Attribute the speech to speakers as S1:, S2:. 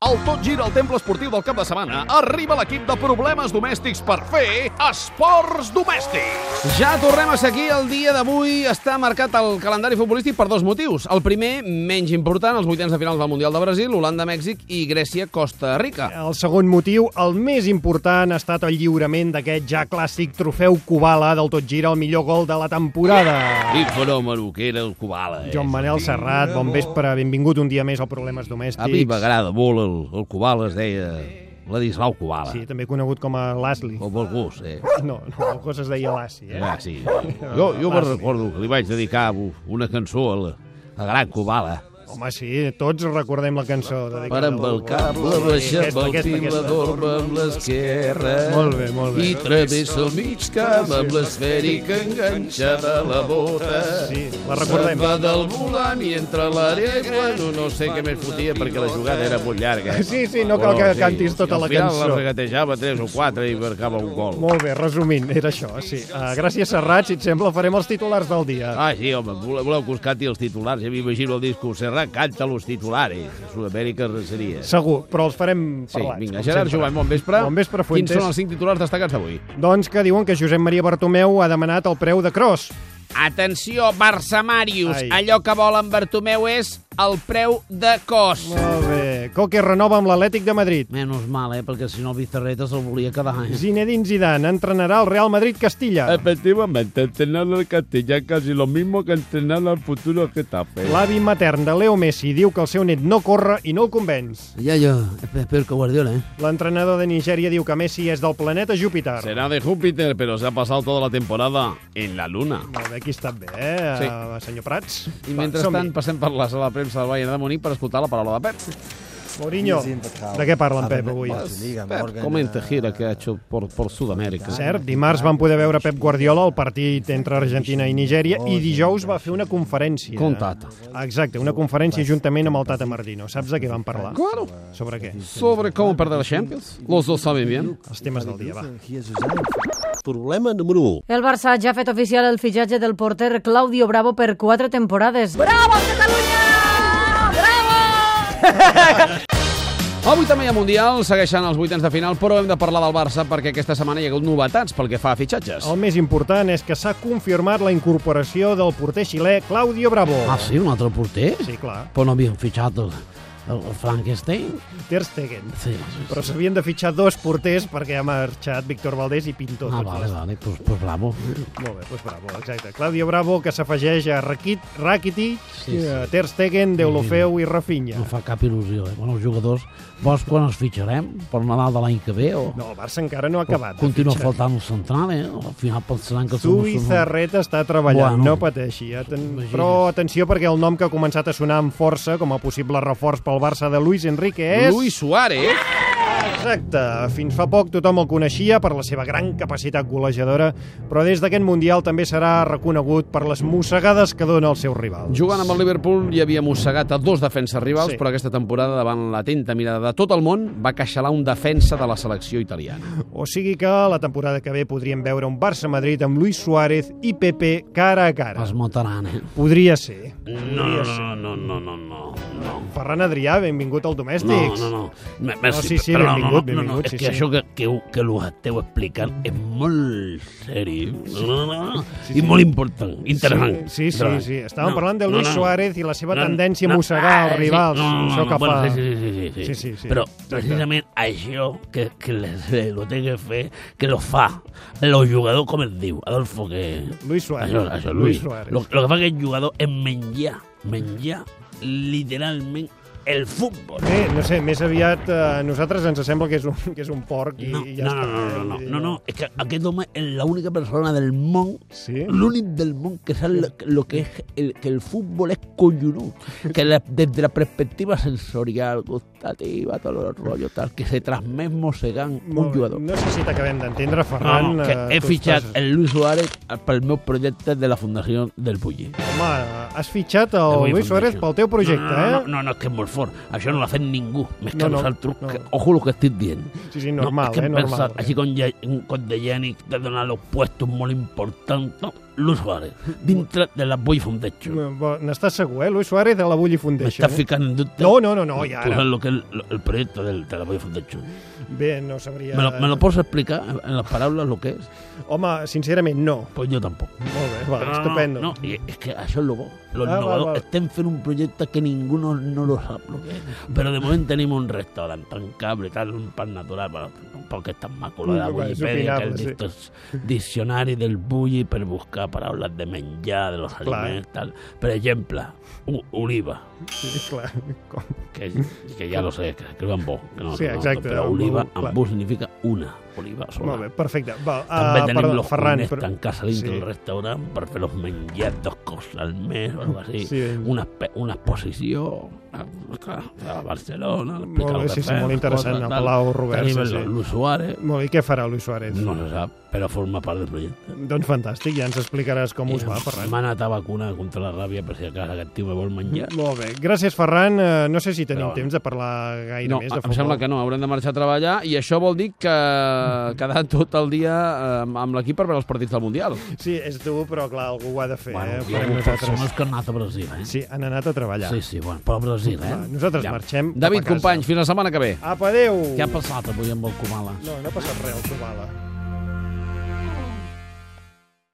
S1: Al Tot Gira al Temple Esportiu del cap de setmana arriba l'equip de problemes domèstics per fer esports domèstics.
S2: Ja tornem a ser aquí. El dia d'avui està marcat el calendari futbolístic per dos motius. El primer, menys important, els vuitens de finals del Mundial de Brasil, Holanda, Mèxic i Grècia-Costa Rica.
S3: El segon motiu, el més important, ha estat el lliurament d'aquest ja clàssic trofeu Kubala del Tot Gira, el millor gol de la temporada.
S2: I fenòmeno que era el Kubala, eh?
S3: Joan Manel Serrat, bon vespre, benvingut un dia més a
S2: A
S3: Problemes
S2: mi
S3: Domèstics.
S2: m'agrada molt el, el Kubala, es deia Ladislau Kubala.
S3: Sí,
S2: Sí.
S3: també conegut com a Lasli.
S2: Com el gust, eh?
S3: No, no, el cos es deia Lassi, eh?
S2: Ah, sí. Jo, jo me'n recordo que li vaig dedicar una cançó a la, a Gran Kubala.
S3: Home, sí, tots recordem la cançó.
S2: Per
S3: dedicada al-
S2: embalcar la baixa amb el pim la dorma amb l'esquerra
S3: Molt bé, molt bé.
S2: i travessa el mig camp amb l'esfèrica enganxada a la bota.
S3: Sí, la recordem.
S2: Se'n va del volant i entre l'àrea i bueno, no sé què més fotia perquè la jugada era molt llarga.
S3: Sí, sí, no cal que
S2: Però, sí,
S3: cantis tota
S2: al
S3: la
S2: final
S3: cançó.
S2: la regatejava 3 o 4 i marcava un gol.
S3: Molt bé, resumint, era això, sí. Uh, gràcies, Serrat. Si et sembla, farem els titulars del dia.
S2: Ah, sí, home, voleu, voleu que us canti els titulars? Ja m'imagino el disco Serrat, canta los titulares. A Sud-amèrica seria.
S3: Segur, però els farem
S2: Sí,
S3: parlats.
S2: vinga,
S3: com
S2: Gerard
S3: sempre.
S2: Jovany, bon vespre.
S3: Bon vespre, Fuentes.
S2: Quins són els cinc titulars destacats d'avui?
S3: Doncs que diuen que Josep Maria Bartomeu ha demanat el preu de Cross.
S4: Atenció, Barça Màrius,
S3: Ai.
S4: allò que vol en Bartomeu és el preu de cos.
S3: Molt bé. Coque renova amb l'Atlètic de Madrid.
S4: Menys mal, eh, perquè si no el Vizarreta se'l volia quedar. Eh?
S3: Zinedine Zidane entrenarà el Real
S2: Eh.
S3: Madrid-Castilla.
S5: Efectivamente, entrenar al Castellán casi lo mismo que entrenar al futuro Getafe.
S3: L'avi matern de Leo Messi diu que el seu net no corre i no el convenç.
S4: Ja, ja, espero que Guardiola, eh?
S3: L'entrenador de Nigèria diu que Messi és del planeta Júpiter.
S2: Será de Júpiter, pero se ha pasado toda tota la temporada en la luna.
S3: Molt bé, aquí està bé, eh,
S2: Sí.
S3: eh, senyor Prats?
S2: I
S3: Va,
S2: mentrestant
S3: som-hi.
S2: passem per la sala de premsa del Bayern de Múnich per escoltar la paraula de Pep.
S3: Mourinho, de què parla en Pep avui?
S2: Pep comenta gira que ha hecho por, por Sudamérica.
S3: Cert, dimarts vam poder veure Pep Guardiola al partit entre Argentina i Nigèria i dijous va fer una conferència.
S2: Con Tata.
S3: Exacte, una conferència juntament amb el Tata Martino. Saps de què van parlar?
S2: Claro.
S3: Sobre què?
S2: Sobre cómo perder la Champions. Los dos saben bien.
S3: Els temes del dia, va.
S6: Problema número 1.
S7: El Barça ja ha fet oficial el fitxatge del porter Claudio Bravo per quatre temporades.
S2: Avui també hi ha Mundial, segueixen els vuitens de final, però hem de parlar del Barça perquè aquesta setmana hi ha hagut novetats pel que fa a fitxatges.
S3: El més important és que s'ha confirmat la incorporació del porter xilè Claudio Bravo.
S4: Ah, sí, un altre porter?
S3: Sí, clar.
S4: Però no havien fitxat el, el Frankenstein?
S3: Ter Stegen.
S4: Sí.
S3: Però s'havien de fitxar dos porters perquè ha marxat Víctor Valdés i Pinto.
S4: Ah,
S3: tots
S4: vale,
S3: els
S4: vale, pues, pues bravo.
S3: Molt bé, doncs bravo, exacte. Claudio Bravo, que s'afegeix a Rakit, Rakitic, sí,
S4: Sí, sí.
S3: Ter Stegen, Deulofeu i
S4: No
S3: Rafinha.
S4: fa cap il·lusió, eh? Bueno, els jugadors, vols quan els fitxarem? Per Nadal de l'any que ve? O...
S3: No, el Barça encara no ha acabat.
S4: Oh, Continua faltant el central, eh? Al final pensaran que...
S3: Tu i Zarreta està treballant,
S4: Bueno.
S3: no pateixi. Aten... Però atenció perquè el nom que ha començat a sonar amb força com a possible reforç pel Barça de Luis Enrique és...
S2: Luis Suárez.
S3: Exacte. Fins fa poc tothom el coneixia per la seva gran capacitat golejadora, però des d'aquest Mundial també serà reconegut per les mossegades que dona el seu rival.
S2: Jugant amb el Liverpool hi havia mossegat a dos defenses rivals,
S3: Sí.
S2: sí. però aquesta temporada, davant l'atenta mirada de tot el món, va queixalar un defensa de la selecció italiana.
S3: O sigui que la temporada que ve podríem veure un Barça-Madrid amb Luis Suárez i Pepe cara a cara.
S4: Es mataran, eh?
S3: Podria ser.
S4: No, no, no, no, no, no, no.
S3: Ferran Adrià, benvingut al
S4: No,
S3: Domèstics.
S4: no, no. Me-
S3: Este No,
S4: Merci,
S3: sí, sí,
S4: però no, no,
S3: benvingut,
S4: no, no,
S3: benvingut,
S4: és
S3: sí,
S4: que
S3: sí.
S4: això que, que, ho- que ho esteu explicant és molt seri no, no, no, i molt important, interessant.
S3: Sí, sí,
S4: Interessant.
S3: sí. Estàvem parlant de Luis Suárez i la seva tendència a mossegar
S4: Ah,
S3: els rivals.
S4: Sí, no, no,
S3: Això
S4: no,
S3: que
S4: bueno,
S3: fa-
S4: sí, sí, sí, sí,
S3: Sí,
S4: sí,
S3: sí, sí.
S4: Però
S3: Exacte.
S4: precisament això que, que les, eh, lo té que fer, que lo fa, lo jugador, com es diu, Adolfo, que...
S3: Luis Suárez.
S4: Això, això, Luis.
S3: Suárez.
S4: Lo, lo que fa aquest jugador és menjar, menjar literalment el futbol.
S3: Bé, no sé, més aviat eh, a nosaltres ens sembla que és un, que és un porc i,
S4: No,
S3: i ja
S4: no, no,
S3: està.
S4: no, no, no,
S3: eh?
S4: no, no, és que aquest home és l'única persona del món,
S3: Sí?
S4: l'únic del món que sap lo, lo que és el, que el futbol és collonut, que la, des de la perspectiva sensorial, gustativa, tot el rotllo tal, que se transmet mossegant
S3: Molt
S4: un
S3: bé.
S4: jugador.
S3: No sé si t'acabem d'entendre, Ferran.
S4: Vamos, que
S3: eh,
S4: he
S3: tu
S4: fitxat
S3: estàs-
S4: el Luis Suárez pel meu projecte de la Fundació del Bulli.
S3: Home, has fitxat el
S4: Avui
S3: Oh, Luis
S4: Fundació.
S3: Suárez pel teu projecte,
S4: no, no, no,
S3: eh?
S4: No, no, no, és que és molt fort. Això no l'ha fet ningú,
S3: No,
S4: més
S3: no,
S4: que no, nosaltres.
S3: no.
S4: No. Que, ojo el que estic dient.
S3: Sí, sí, normal,
S4: no, és que
S3: eh?
S4: hem
S3: Normal.
S4: Pensat, així com ja, un cop de Yannick de donar los puestos molt importants, no, Luis Suárez, dintre de la Boy Foundation.
S3: Bo- N'estàs segur, eh, Luis Suárez, de la Bulli Foundation?
S4: M'està
S3: eh?
S4: ficant en dubte...
S3: No, no, no, no, ja ara.
S4: Posant lo que és el, el projecte del, de la Boy Foundation.
S3: Bé, no sabria...
S4: ¿Me lo, ¿Me lo puedes explicar en en las palabras lo que es?
S3: Home, sincerament, no.
S4: Pues yo tampoco.
S3: Molt bé, va,
S4: no,
S3: estupendo.
S4: No, no, y es que eso es lo bo. Los
S3: Ah,
S4: innovadores
S3: va, va.
S4: estén en un proyecto que ninguno no lo sabe lo que es. Pero de momento tenemos un restaurante tan cable, tal, un pan natural, para, porque está maculado de la
S3: Mm, va, és
S4: Wikipedia, que el
S3: opinable, sí.
S4: estos diccionaris del bulli per buscar paraules de menjar, de los
S3: Clar.
S4: alimentos, tal. Por ejemplo, u- oliva,
S3: Sí, clar. Com?
S4: que, que ya lo sé, que escriben bo. Que no,
S3: Sí,
S4: que no,
S3: exacte,
S4: Pero
S3: amb
S4: oliva,
S3: bo, clar.
S4: ambú significa una, oliva sola.
S3: Molt bé, perfecte. Va,
S4: També
S3: ah,
S4: tenim
S3: perdó,
S4: los
S3: Ferran,
S4: cuiners
S3: però...
S4: tancats a dintre
S3: Sí.
S4: del restaurant per fer los menjars dos cops al mes o algo así.
S3: Sí.
S4: Una, espe- una exposició a, a Barcelona.
S3: Molt bé,
S4: explicar lo que
S3: sí, sí,
S4: fem,
S3: molt interessant,
S4: coses,
S3: a
S4: tal.
S3: Palau Robert,
S4: Tenim
S3: sí,
S4: el
S3: sí.
S4: Luis Suárez,
S3: Molt bé, i què farà Luis Suárez?
S4: no se sap, però forma part del projecte.
S3: Doncs fantàstic, ja ens explicaràs com us va, Ferran.
S4: M'ha anat a vacunar contra la ràbia per si a casa aquest tio me vol menjar.
S3: Molt bé, gràcies, Ferran. Eh, No sé si tenim
S4: Però-
S3: temps de parlar gaire
S2: No,
S3: més de
S2: em
S3: futbol.
S2: sembla que no, haurem de marxar a treballar i això vol dir que quedar tot el dia eh, amb- amb l'equip per veure els partits del Mundial.
S3: Sí, és dur, però clar, algú ho ha de fer,
S4: Bueno,
S3: eh?
S4: hi ha
S3: Farem
S4: hagut persones
S3: nosaltres...
S4: que han anat a Brasil, eh?
S3: Sí, han anat a treballar.
S4: sí, sí, bueno, però a Brasil, eh?
S3: Va, nosaltres
S4: Ja.
S3: marxem cap
S2: David,
S3: a casa.
S2: companys, fins la setmana que ve.
S3: Apa, adéu!
S4: Què ha passat avui amb el Comala?
S3: No, no ha passat res, el Kubala.